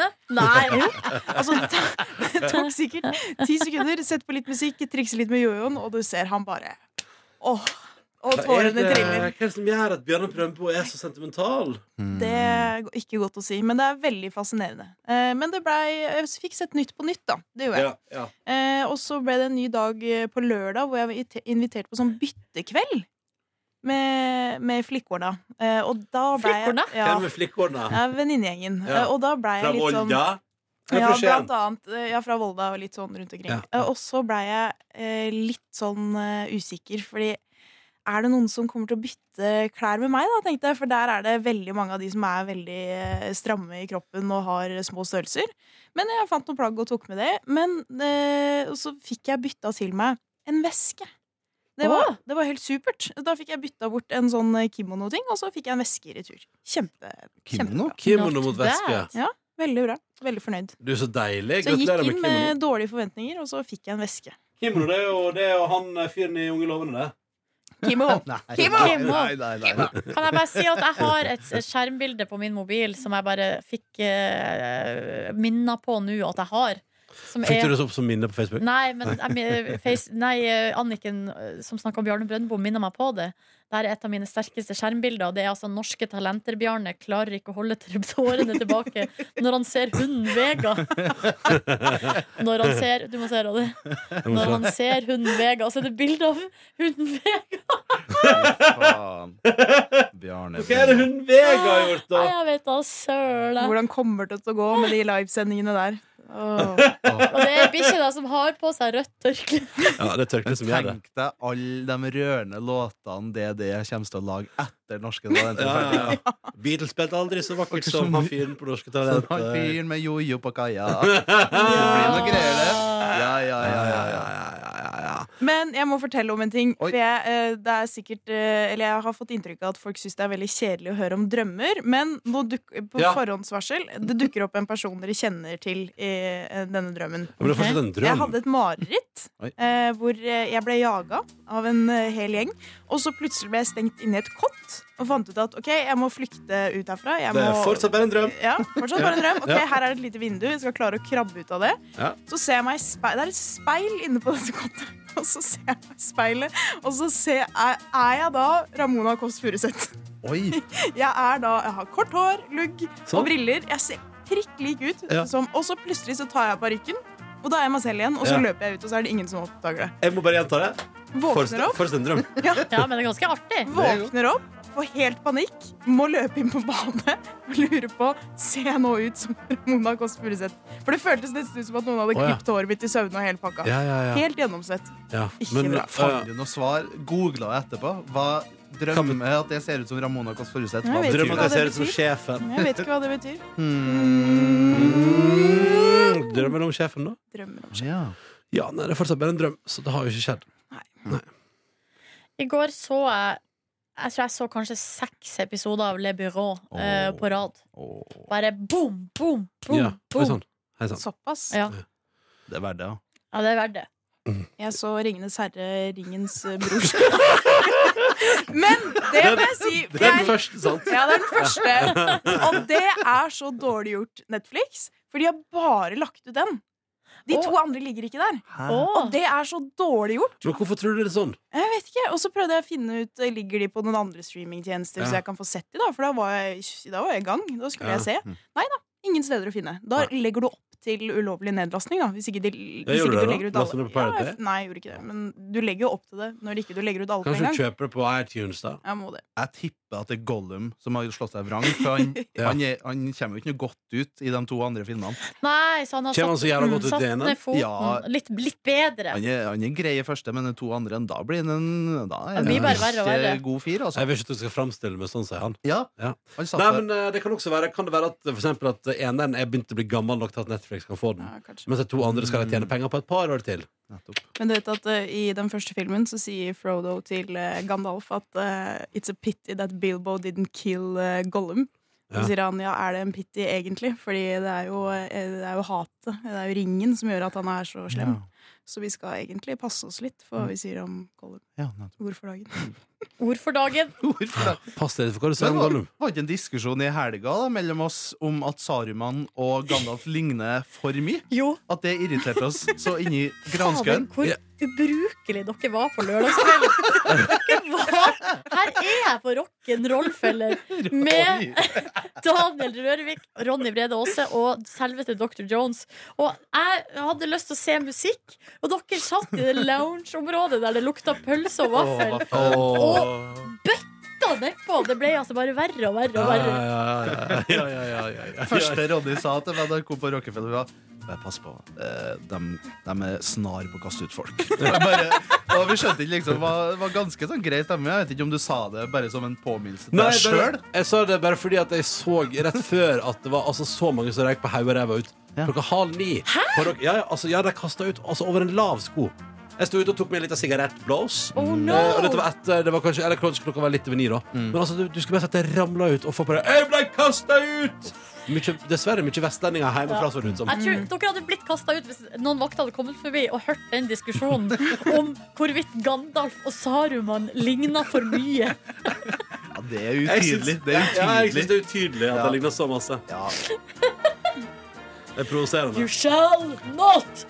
Speaker 1: (laughs)
Speaker 2: Nei
Speaker 3: Altså, det tok- det tok sikkert ti sekunder. Sett på litt musikk, trikse litt med jojoen, og du ser han bare Åh! Og
Speaker 1: Hva er eh,
Speaker 3: tårene
Speaker 1: det, hva
Speaker 3: triller.
Speaker 1: er det som gjør at Bjørnar Brøndbo er så sentimental?
Speaker 3: Det er ikke godt å si, men det er veldig fascinerende. Eh, Men det blei Jeg fikk sett Nytt på nytt, da. Det gjorde jeg.
Speaker 1: Ja, ja.
Speaker 3: Eh, og så ble det en ny dag eh, på lørdag hvor jeg var ite- invitert på sånn byttekveld med, med flikkorna. Eh, og da ble
Speaker 2: Flikkorna?
Speaker 3: Jeg,
Speaker 1: Hvem
Speaker 3: ja,
Speaker 1: er flikkordene?
Speaker 3: ja venninnegjengen.
Speaker 1: Ja.
Speaker 3: Eh, og da ble
Speaker 1: Fra
Speaker 3: jeg litt sånn
Speaker 1: Volda? Eller
Speaker 3: ja,
Speaker 1: fra Skien?
Speaker 3: blant annet. eh, Ja, fra Volda og litt sånn rundt omkring.
Speaker 1: Ja.
Speaker 3: Eh, og så blei jeg eh, litt sånn eh, usikker, fordi er det noen som kommer til å bytte klær med meg, da, tenkte jeg. For der er det veldig mange av de som er veldig eh, stramme i kroppen og har små størrelser. Men jeg fant noen plagg og tok med det. Men eh, og så fikk jeg bytta til meg en veske. Det var, det var helt supert. Da fikk jeg bytta bort en sånn eh, kimono-ting, og så fikk jeg en veske i retur. Kjempe,
Speaker 4: Kimono?
Speaker 3: kjempebra.
Speaker 1: Kimono
Speaker 2: Not
Speaker 1: mot veske.
Speaker 2: bad.
Speaker 3: Veldig bra. Veldig fornøyd.
Speaker 1: Du er så deilig.
Speaker 3: Så jeg
Speaker 1: Gratulerer med
Speaker 3: gikk inn
Speaker 1: kimono.
Speaker 3: med dårlige forventninger, og så fikk jeg en veske.
Speaker 1: Kimono, det er jo, det er jo han eh, fyren i Unge lovende, det.
Speaker 3: Kimo!
Speaker 1: (laughs)
Speaker 4: Nei,
Speaker 2: Kimo!
Speaker 4: nei,
Speaker 2: Kimo!
Speaker 4: nei, nei, nei.
Speaker 2: Kan jeg bare si at jeg har et skjermbilde på min mobil som jeg bare fikk uh, minna på nå at jeg har. Som
Speaker 1: Fikk du
Speaker 2: er
Speaker 1: det så opp som minne på Facebook?
Speaker 2: Nei, men jeg men- face, nei, eh, Anniken eh, som snakka om Bjarne Brøndbo, minner meg på det. Det er et av mine sterkeste skjermbilder. og Det er altså Norske talenter-Bjarne klarer ikke å holde til- tårene tilbake når han ser hunden Vega. Når han ser Du må se, Ronny.
Speaker 1: Jeg må
Speaker 2: Når
Speaker 1: se.
Speaker 2: han ser hunden Vega, så er det bilde av hunden Vega.
Speaker 1: (laughs)
Speaker 4: Faen. Bjarne.
Speaker 1: Hva er det hun Vega har gjort, da?
Speaker 2: Nei, jeg vet da søren.
Speaker 3: Hvordan kommer det til å gå med de livesendingene der? Åh.
Speaker 2: Og det er bikkja som har på seg rødt tørkle.
Speaker 1: Ja, det er tørkle som gjør det.
Speaker 4: Tenk deg alle de rørende låtene DDE kommer til å lage etter
Speaker 1: (laughs)
Speaker 4: Norske Talenter.
Speaker 1: Ja, ja, ja. Beatles spilte aldri så vakkert som han fyren på Norske eh.
Speaker 4: Sånn han
Speaker 1: Talenter.
Speaker 4: fyren med jojo på
Speaker 1: (laughs)
Speaker 4: kaia. Det blir noe greier, det. Ja, ja, ja. ja, ja.
Speaker 3: Men jeg må fortelle om en ting.
Speaker 4: Oi.
Speaker 3: For jeg, eh, det er sikkert, eh, eller jeg har fått inntrykk av at folk syns det er veldig kjedelig å høre om drømmer. Men nå duk, på
Speaker 1: Ja.
Speaker 3: forhåndsvarsel det dukker opp en person dere kjenner til i eh, denne drømmen. Eh,
Speaker 1: Men det er fortsatt en
Speaker 3: Jeg
Speaker 1: drøm.
Speaker 3: hadde et mareritt
Speaker 4: Oi.
Speaker 3: eh, hvor eh, jeg ble jaga av en eh, hel gjeng. Og så plutselig ble jeg stengt inne i et kott og fant ut at ok, jeg må flykte ut herfra. Jeg
Speaker 1: Det er
Speaker 3: må...
Speaker 1: fortsatt bare en drøm.
Speaker 3: Ja, fortsatt bare en drøm. Ok,
Speaker 1: Ja.
Speaker 3: Her er det et lite vindu. Jeg skal klare å krabbe ut av det.
Speaker 1: Ja.
Speaker 3: Så ser jeg meg i speil. Det er et speil inne på dette kottet. Og så ser jeg meg i speilet, og så ser jeg, er- er jeg da Ramona Kåss Furuseth.
Speaker 4: Oi!
Speaker 3: Jeg er da, jeg har kort hår, lugg
Speaker 1: Sånn.
Speaker 3: og briller. Jeg ser prikk lik ut.
Speaker 1: Ja.
Speaker 3: Som, og så plutselig så tar jeg parykken, og da er jeg meg selv igjen. Og så
Speaker 1: Ja.
Speaker 3: løper jeg ut, og så er det ingen som oppdager det.
Speaker 1: Jeg må bare gjenta det.
Speaker 3: Våkner
Speaker 1: Fortsatt
Speaker 3: opp,
Speaker 1: fortsatt en drøm.
Speaker 2: Ja, men det er ganske artig.
Speaker 3: våkner opp, får helt panikk, må løpe inn på bane og lure på Ser jeg nå ut som (laughs) Ramona Kåss Furuseth? For det føltes nesten ut som at noen
Speaker 1: Å,
Speaker 3: hadde
Speaker 1: ja.
Speaker 3: klippet håret mitt i søvne og hele pakka.
Speaker 1: Ja, ja, ja.
Speaker 3: Helt gjennomsvett.
Speaker 1: ja.
Speaker 3: ikke
Speaker 1: Men,
Speaker 3: bra.
Speaker 1: øh,
Speaker 4: Fant du noe svar? Googla jeg etterpå? Hva
Speaker 1: Kan-
Speaker 4: drømmer at jeg ser ut som Ramona Kåss Furuseth?
Speaker 3: Jeg
Speaker 4: Hva
Speaker 3: vet
Speaker 4: betyr
Speaker 1: drøm at
Speaker 3: ikke
Speaker 4: det?
Speaker 1: jeg
Speaker 3: hva
Speaker 1: ser
Speaker 3: det
Speaker 1: ut som sjefen.
Speaker 3: Jeg vet ikke hva det betyr.
Speaker 1: Mm, Drømmen om sjefen, da?
Speaker 3: Drømmer om
Speaker 4: Ja.
Speaker 1: Ja, nei, det er fortsatt bare en drøm, så det har jo ikke skjedd.
Speaker 2: I går så jeg Jeg tror jeg så kanskje seks episoder av Le Bureau eh,
Speaker 1: Åh.
Speaker 2: på rad. Bare boom, boom, boom.
Speaker 1: Ja, oi
Speaker 2: boom.
Speaker 1: sann. Hei sann.
Speaker 3: Såpass.
Speaker 2: Ja.
Speaker 4: Det er verdt det, ja.
Speaker 2: Ja, det er verdt det.
Speaker 3: Jeg så Ringenes herre, Ringens eh, (laughs) brorskap. Men det må jeg si. for
Speaker 1: Det er
Speaker 3: jeg-
Speaker 1: den første, sant?
Speaker 3: Ja, det er den
Speaker 1: (laughs)
Speaker 3: første. Og det er så dårlig gjort, Netflix, for de har bare lagt ut den. De to
Speaker 2: Å.
Speaker 3: andre ligger ikke der.
Speaker 4: Hæ?
Speaker 2: Åh,
Speaker 3: Ah. Og det er så dårlig gjort.
Speaker 1: Men hvorfor tror du det er sånn?
Speaker 3: Jeg vet ikke, Og så prøvde jeg å finne ut eh, Ligger de på noen andre streamingtjenester,
Speaker 1: Ja.
Speaker 3: så jeg kan få sett de da, for da var jeg, da var jeg i gang. Da skulle
Speaker 1: Ja.
Speaker 3: jeg se.
Speaker 4: Mm.
Speaker 3: Nei da, ingen steder å finne. Da legger du opp til ulovlig nedlastning, da. Hvis ikke, de, hvis
Speaker 1: gjorde det
Speaker 3: ikke du
Speaker 1: da.
Speaker 3: legger ut
Speaker 1: Lastet det
Speaker 3: alle.
Speaker 1: på Pirate
Speaker 3: jeg-
Speaker 1: Bay?
Speaker 3: nei, jeg gjorde ikke det. Men du legger jo opp til det når ikke du legger ut alle på en
Speaker 1: Kanskje
Speaker 3: gang.
Speaker 1: du kjøper det på iTunes, da?
Speaker 3: Jeg må det.
Speaker 4: Jeg tipper at det er Gollum som har slått seg vrang. For han,
Speaker 1: Ja.
Speaker 4: han, er, han kommer jo ikke noe godt ut i de to andre filmene.
Speaker 2: Nei, så han har
Speaker 1: Kjem han
Speaker 2: satt,
Speaker 1: så jævla godt ut i
Speaker 2: Altså, mm, satt
Speaker 1: enen?
Speaker 2: ned foten.
Speaker 4: Ja.
Speaker 2: Litt, litt bedre.
Speaker 4: Han er, han er grei i første, men de to andre da blir han en da er
Speaker 2: Det blir
Speaker 4: han
Speaker 2: bare verre og
Speaker 4: ikke
Speaker 2: verre.
Speaker 4: god fyr. Altså.
Speaker 1: Jeg vil ikke at du skal framstille meg sånn, sier han.
Speaker 4: Ja,
Speaker 1: Ja. Nei,
Speaker 4: han satte
Speaker 1: men eh, det Kan også være Kan det være at eh, for eksempel at eh, eneren er begynt å bli gammel nok til at Netflix kan få den,
Speaker 3: Ja, kanskje.
Speaker 1: mens de to andre skal de tjene penger på et par år til?
Speaker 4: Nettopp.
Speaker 3: Men du vet at eh, i den første filmen så sier Frodo til eh, Gandalf at eh, It's a pity that Bilbo didn't kill eh, Gollum. Så
Speaker 1: Ja.
Speaker 3: sier han ja, er det en pity egentlig? Fordi det er jo, eh, det er jo hatet, det er jo ringen som gjør at han er så slem. Så vi skal egentlig passe oss litt for hva vi sier om Gollum.
Speaker 4: Ja, nettopp.
Speaker 3: Ord for dagen.
Speaker 2: Ord for dagen.
Speaker 4: Hvorfor det?
Speaker 1: Pass deg for hva du sier
Speaker 4: Men
Speaker 1: om
Speaker 4: var,
Speaker 1: Gollum.
Speaker 4: var ikke en diskusjon i helga da, mellom oss om at Saruman og Gandalf ligner for mye?
Speaker 2: Jo,
Speaker 4: At det irriterte oss så inni
Speaker 2: faen,
Speaker 4: granskauen?
Speaker 2: hvor
Speaker 1: Ja.
Speaker 2: ubrukelig dere var på lørdagskvelden. Dere var- Her er jeg på
Speaker 1: (laughs)
Speaker 2: rock'n'roll-feller med
Speaker 4: Oi.
Speaker 2: Daniel Rørvik, Ronny Brede Aase og selveste Dr. Jones. Og jeg hadde lyst til å se musikk, og dere satt i det loungeområdet der det lukta pølse og vaffel.
Speaker 4: Å,
Speaker 1: Åh.
Speaker 2: Da nedpå. Det ble altså bare verre og verre
Speaker 1: Ja,
Speaker 2: og verre.
Speaker 1: ja, ja, ja, ja, ja, ja, ja.
Speaker 4: Første Ronny sa til meg da han kom på Rockefeller, var bare pass på. eh, dem- dem er snar på å kaste ut folk. Og jeg bare, og vi skjønte ikke liksom, hva- Det var ganske sånn grei stemme. Jeg vet ikke om du sa det bare som en påminnelse til
Speaker 1: Nei,
Speaker 4: deg
Speaker 1: bare,
Speaker 4: sjøl.
Speaker 1: jeg sa det bare fordi at jeg så rett før at det var altså, så mange som røyk på hodet og ræva ut.
Speaker 4: Ja.
Speaker 1: Klokka halv ni. På dere- Ja, ja, altså, ja, de kasta ut altså, over en lav sko. Jeg sto ute og tok meg en liten sigarettblås.
Speaker 2: Oh no!
Speaker 1: Eh, og dette var etter, det var kanskje, eller kanskje klokka var litt over ni, da.
Speaker 4: Mm.
Speaker 1: Men altså, du, du skulle bare sett det ramla ut, og folk bare 'Jeg ble kasta ut!' Mye, dessverre mye vestlendinger hjemmefra, så det ut som.
Speaker 2: Jeg tror Dere hadde blitt kasta ut hvis noen vakter hadde kommet forbi og hørt den diskusjonen om hvorvidt Gandalf og Saruman ligna for mye.
Speaker 4: Ja, det er
Speaker 1: Jeg syns-
Speaker 4: utydelig. Det er
Speaker 1: Ja, jeg syns
Speaker 4: utydelig.
Speaker 1: det er utydelig at
Speaker 4: Ja.
Speaker 1: det ligner så masse.
Speaker 4: Ja,
Speaker 1: Det er provoserende.
Speaker 2: You shall not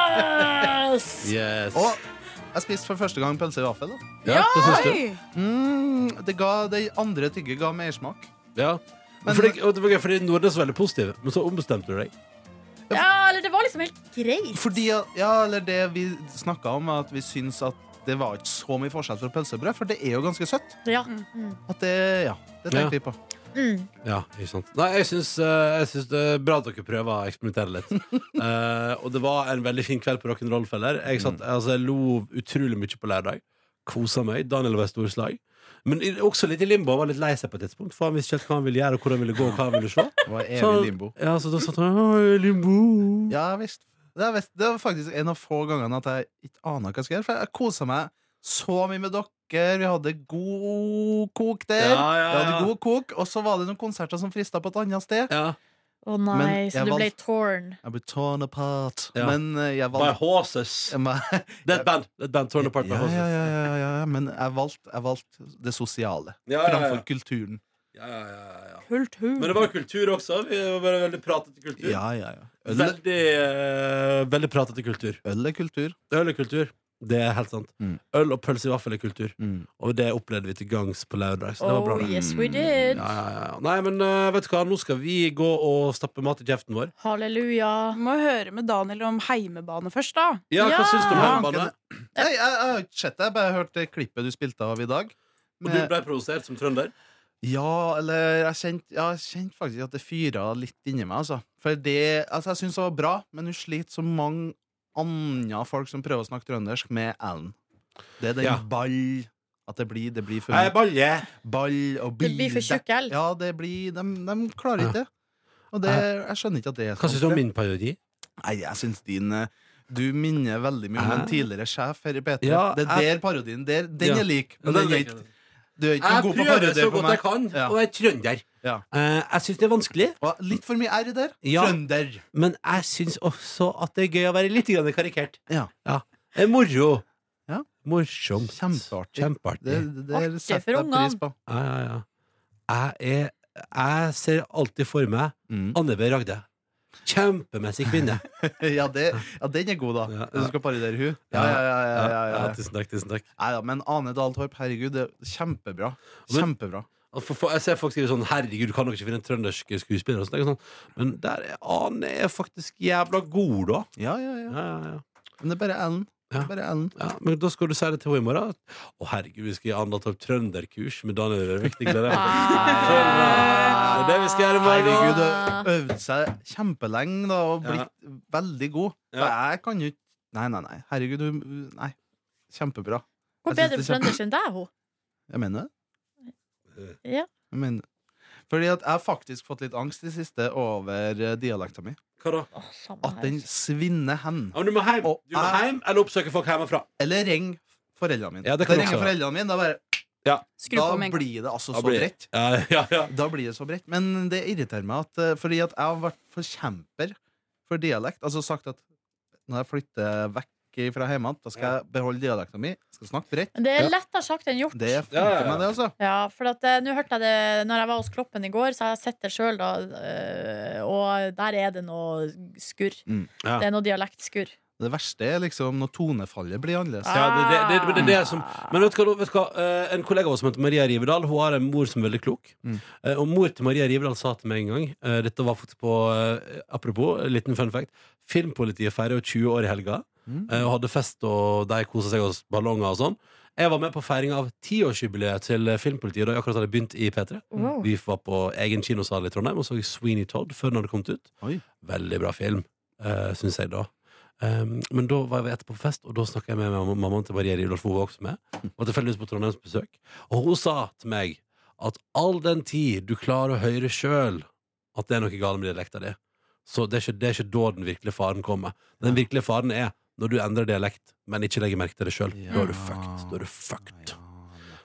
Speaker 2: pass!
Speaker 1: Yes.
Speaker 4: Og jeg spiste for første gang pølse i vaffel. da.
Speaker 1: Ja, hva syns du?
Speaker 4: Mm, det, ga, det andre tygget ga mersmak.
Speaker 1: Ja.
Speaker 4: Men-
Speaker 1: fordi, og det var gøy, fordi Nordnes var veldig positiv, men så ombestemte du deg.
Speaker 2: Ja, eller det var liksom helt greit.
Speaker 4: Fordi, ja, eller det vi snakka om, var at vi syns at det var ikke så mye forskjell fra pølsebrød, for det er jo ganske søtt.
Speaker 2: Ja.
Speaker 3: Mm.
Speaker 2: Mm.
Speaker 4: At det, ja, det tenkte
Speaker 1: Ja.
Speaker 4: vi på.
Speaker 2: Mm.
Speaker 1: Ja, ikke sant Nei, jeg syns, eh, jeg syns det er bra at dere prøver å eksperimentere (laughs) litt. Eh, og det var en veldig fin kveld på rock'n'roll-feller. Jeg, satt- altså, jeg lo utrolig mye på lørdag. Kosa meg. Daniel var i storslag. Men i- også litt i limbo. Han var litt lei seg på et tidspunkt. For han visste ikke helt hva han ville gjøre, og hvor han ville gå, og hva han ville
Speaker 4: (laughs)
Speaker 1: se.
Speaker 4: Det var
Speaker 1: Så-
Speaker 4: evig limbo.
Speaker 1: Ja, så da satt han «Åh, limbo.
Speaker 4: Ja visst. Det, er visst. det var faktisk en av få gangene at jeg ikke aner hva jeg skal gjøre. For jeg kosa meg så mye med dere. Vi hadde god kok
Speaker 1: Ja,
Speaker 4: der.
Speaker 1: ja,
Speaker 4: Vi
Speaker 1: ja.
Speaker 4: hadde god kok Og så var det noen konserter som frista på et annet sted.
Speaker 1: Ja.
Speaker 2: Å nei,
Speaker 4: Men
Speaker 2: så
Speaker 4: jeg
Speaker 2: du ble
Speaker 4: valg-
Speaker 2: torn.
Speaker 4: Jeg ble torn apart.
Speaker 1: Ja.
Speaker 4: Men eh, jeg
Speaker 1: By
Speaker 4: valgte
Speaker 1: horses.
Speaker 4: Jeg må-
Speaker 1: Det er et band. Det er et band Torn apart by
Speaker 4: ja,
Speaker 1: horses.
Speaker 4: ja, ja, ja, ja, ja. Men jeg valgte jeg valgte det sosiale
Speaker 1: Ja, ja, ja.
Speaker 4: framfor kulturen.
Speaker 1: Ja, ja, ja, ja. Men det
Speaker 3: Kultur.
Speaker 1: var kultur også. Vi var bare veldig pratete kultur.
Speaker 4: Ja, ja, ja. Øl,
Speaker 1: Veldig, eh, veldig pratete kultur.
Speaker 4: øl er kultur.
Speaker 1: Øl er kultur. Det er helt sant.
Speaker 4: Mm.
Speaker 1: Øl og pølse i vaffel er kultur. Og det opplevde vi til gangs på lørdag. Så det var bra.
Speaker 2: Oh
Speaker 1: det.
Speaker 2: yes we did.
Speaker 1: Ja, ja, ja. Nei, men eh, vet du hva, nå skal vi gå og stappe mat i kjeften vår.
Speaker 2: Halleluja.
Speaker 3: Må høre med Daniel om heimebane først, da.
Speaker 1: Ja, hva
Speaker 2: Ja!
Speaker 1: syns du om
Speaker 4: Ja,
Speaker 1: hjemmebane?
Speaker 4: Nei, jeg, jeg har ikke sett det. Jeg har bare hørt det klippet du spilte av i dag.
Speaker 1: Og du ble provosert som trønder?
Speaker 4: Ja, eller jeg kjente ja, jeg kjente faktisk at det fyra litt inni meg, altså. For det Altså, jeg syns det var bra, men hun sliter så mange andre folk som prøver å snakke trøndersk, med Ellen. Det er den
Speaker 1: Ja.
Speaker 4: ball At det blir, det blir for
Speaker 1: Jeg er balje!
Speaker 4: ball og
Speaker 2: Det blir for tjukk L.
Speaker 4: Ja, det blir De, de klarer ikke det. Og det, jeg skjønner ikke at det er
Speaker 1: Hva syns du om
Speaker 4: det.
Speaker 1: min parodi?
Speaker 4: Nei, jeg syns din eh, Du minner veldig mye om en
Speaker 1: Hæ?
Speaker 4: tidligere sjef her i P3.
Speaker 1: Ja,
Speaker 4: det er der parodien der, Den
Speaker 1: Ja.
Speaker 4: er lik. Men den er ikke, du er
Speaker 1: Jeg
Speaker 4: ikke noe god på
Speaker 1: prøver
Speaker 4: parodier
Speaker 1: så
Speaker 4: på
Speaker 1: godt
Speaker 4: meg.
Speaker 1: jeg kan,
Speaker 4: Ja.
Speaker 1: og jeg er trønder.
Speaker 4: Ja.
Speaker 1: Eh, jeg syns det er vanskelig,
Speaker 4: Og litt for mye R der.
Speaker 1: Ja.
Speaker 4: Trønder.
Speaker 1: men jeg syns også at det er gøy å være litt grann karikert.
Speaker 4: Ja.
Speaker 1: Det er moro.
Speaker 4: Ja.
Speaker 1: Morsomt.
Speaker 4: Kjempeartig.
Speaker 1: Kjempeartig.
Speaker 4: Det, det,
Speaker 2: Artig
Speaker 4: det setter
Speaker 2: for
Speaker 4: jeg
Speaker 2: ungene.
Speaker 4: pris på.
Speaker 1: Ja, ja, ja. Jeg, er, jeg ser alltid for meg
Speaker 4: Mm.
Speaker 1: Anne B. Ragde. Kjempemessig kvinne.
Speaker 4: (laughs) Ja, det, ja, den er god, da.
Speaker 1: Ja,
Speaker 4: Du
Speaker 1: ja.
Speaker 4: skal parodiere hun Ja,
Speaker 1: Ja,
Speaker 4: ja, ja. ja, ja, ja.
Speaker 1: Ja, tusen takk. tusen takk
Speaker 4: Nei, ja, men Ane Dahl Torp, herregud, det er kjempebra.
Speaker 1: Men-
Speaker 4: Kjempebra.
Speaker 1: Og for, for, Jeg ser folk skrive sånn 'Herregud, kan dere ikke finne en trøndersk skuespiller?' Og sånt, ikke sånn. Men der er Ane er faktisk jævla god, da.
Speaker 4: Ja, ja, ja.
Speaker 1: Ja, ja, ja.
Speaker 4: Men det er bare Ellen. Det
Speaker 1: Ja.
Speaker 4: er bare Ellen.
Speaker 1: Ja, men da skal du si det til henne i morgen. Å herregud, vi skal gi Anna Torp trønderkurs med Daniel Rørvik. Det gleder jeg meg til.
Speaker 2: Ah.
Speaker 1: Det er det vi skal gjøre i morgen.
Speaker 4: Herregud, hun øvde seg kjempelenge da, og
Speaker 1: Ja.
Speaker 4: blitt veldig god. For jeg kan jo ikke Nei, nei, nei. Herregud, hun Nei. Kjempebra.
Speaker 2: Hun er
Speaker 4: Jeg
Speaker 2: bedre på
Speaker 4: synes det er kjempe-
Speaker 2: trøndersk enn deg, hun.
Speaker 4: Jeg mener det.
Speaker 2: Ja.
Speaker 4: Jeg mener. det. Fordi at jeg har faktisk fått litt angst i det siste over eh, dialekta mi.
Speaker 1: Hva da?
Speaker 2: Å, samme
Speaker 4: At
Speaker 2: her.
Speaker 4: den svinner hen.
Speaker 1: Ja, men du må hjem.
Speaker 4: Og
Speaker 1: Du må
Speaker 4: jeg-
Speaker 1: hjem eller oppsøke folk hjemmefra.
Speaker 4: Eller ring foreldrene mine.
Speaker 1: Ja, det
Speaker 4: det
Speaker 1: kan
Speaker 4: ringer
Speaker 1: også være.
Speaker 4: foreldrene mine, da, bare,
Speaker 2: Skru på
Speaker 4: da
Speaker 2: med en gang.
Speaker 4: blir det altså
Speaker 1: Da
Speaker 4: så
Speaker 1: blir-
Speaker 4: bredt.
Speaker 1: Ja, ja, ja.
Speaker 4: Da blir det så bredt. Men det irriterer meg at, eh, fordi at jeg har vært forkjemper for dialekt. Altså sagt at når jeg flytter vekk fra hjemme, da skal jeg beholde dialekta mi. Skal snakke bredt.
Speaker 2: Det er
Speaker 1: Ja.
Speaker 2: lettere sagt enn gjort.
Speaker 4: Det funker
Speaker 1: Ja, ja, ja.
Speaker 4: meg, det, altså.
Speaker 2: Ja, for at eh, nå hørte jeg det Når jeg var hos Kloppen i går, så har jeg sett det sjøl, da. eh, og der er det noe skurr.
Speaker 4: Mm.
Speaker 1: Ja.
Speaker 2: Det er noe dialektskurr.
Speaker 4: Det verste er liksom når tonefallet blir annerledes.
Speaker 1: Ja, det, det, det, det, det er det som Men vet du hva, vet du hva? Eh, en kollega av oss som heter Maria Rivedal Hun har en mor som er veldig klok
Speaker 4: Mm.
Speaker 1: Eh, Og mor til Maria Rivedal sa til meg en gang eh, Dette var faktisk på, eh, apropos, en liten fun fact Filmpolitiet feirer jo 20 år i helga
Speaker 4: Mm.
Speaker 1: eh, Og hadde fest og de koset seg hos ballonger og sånn Jeg var med på feiring av 10-årsjubileet til eh, filmpolitiet Da jeg akkurat hadde begynt i P3
Speaker 2: Wow.
Speaker 4: Mm.
Speaker 1: Vi var på egen kinosal i Trondheim Og så Sweeney Todd før den hadde kommet ut
Speaker 4: Oi.
Speaker 1: Veldig bra film, uh, synes jeg da Um, men da var vi etterpå på fest, og da snakka jeg med mam- mammaen til Maria Rivdal, for hun var også med. Og tilfeldigvis på Trondheimsbesøk. Og hun sa til meg at all den tid du klarer å høre sjøl at det er noe galt med dialekta di, så det er, ikke, det er ikke da den virkelige faren kommer. Den virkelige faren er når du endrer dialekt, men ikke legger merke til det sjøl. Da er du fucked. Da er du fucked.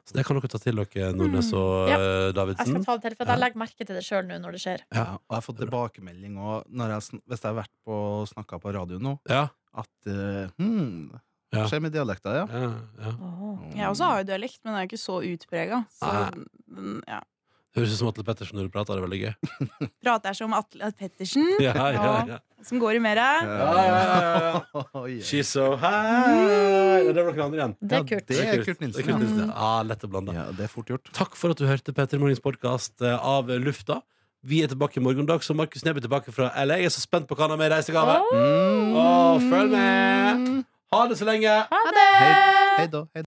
Speaker 1: Så det kan dere ta til dere, Nordnes og
Speaker 2: Mm. Ja.
Speaker 1: eh,
Speaker 2: Jeg skal
Speaker 1: Davidsen.
Speaker 2: ta det til, for at jeg legger merke til det sjøl nå når det skjer.
Speaker 4: Ja, og jeg har fått tilbakemelding også, når jeg, sn- hvis jeg har vært på og snakka på radio nå,
Speaker 1: Ja.
Speaker 4: at eh, hmm,
Speaker 1: Ja.
Speaker 4: Hva skjer med dialekta, ja?
Speaker 1: ja, ja.
Speaker 3: Jeg også har jo dialekt, men den er jo ikke så utprega. Så
Speaker 1: Nei.
Speaker 3: den- ja.
Speaker 1: Høres ut som Atle Pettersen når du prater, det er veldig gøy.
Speaker 3: prater jeg som Atle Pettersen,
Speaker 1: (laughs) Ja, ja, ja.
Speaker 3: som går i mere.
Speaker 1: ja,
Speaker 4: (laughs)
Speaker 1: She's so high Ja, Det var noen andre igjen.
Speaker 2: Det er
Speaker 4: Ja,
Speaker 2: kult.
Speaker 4: det- er Kurt
Speaker 1: Det er
Speaker 4: Nilsen, ja.
Speaker 1: Nilsen, ja. Ah, lett å blande.
Speaker 4: Ja, det er fort gjort.
Speaker 1: Takk for at du hørte Petter Morgens podkast av lufta. Vi er tilbake i morgen dag, så Markus Neby er tilbake fra LA. Jeg er så spent på hva han har med i reisegave.
Speaker 2: Åh,
Speaker 4: Mm.
Speaker 1: Mm. Åh, følg med! Ha det så lenge!
Speaker 2: ha det!
Speaker 4: Hei da. Hei da.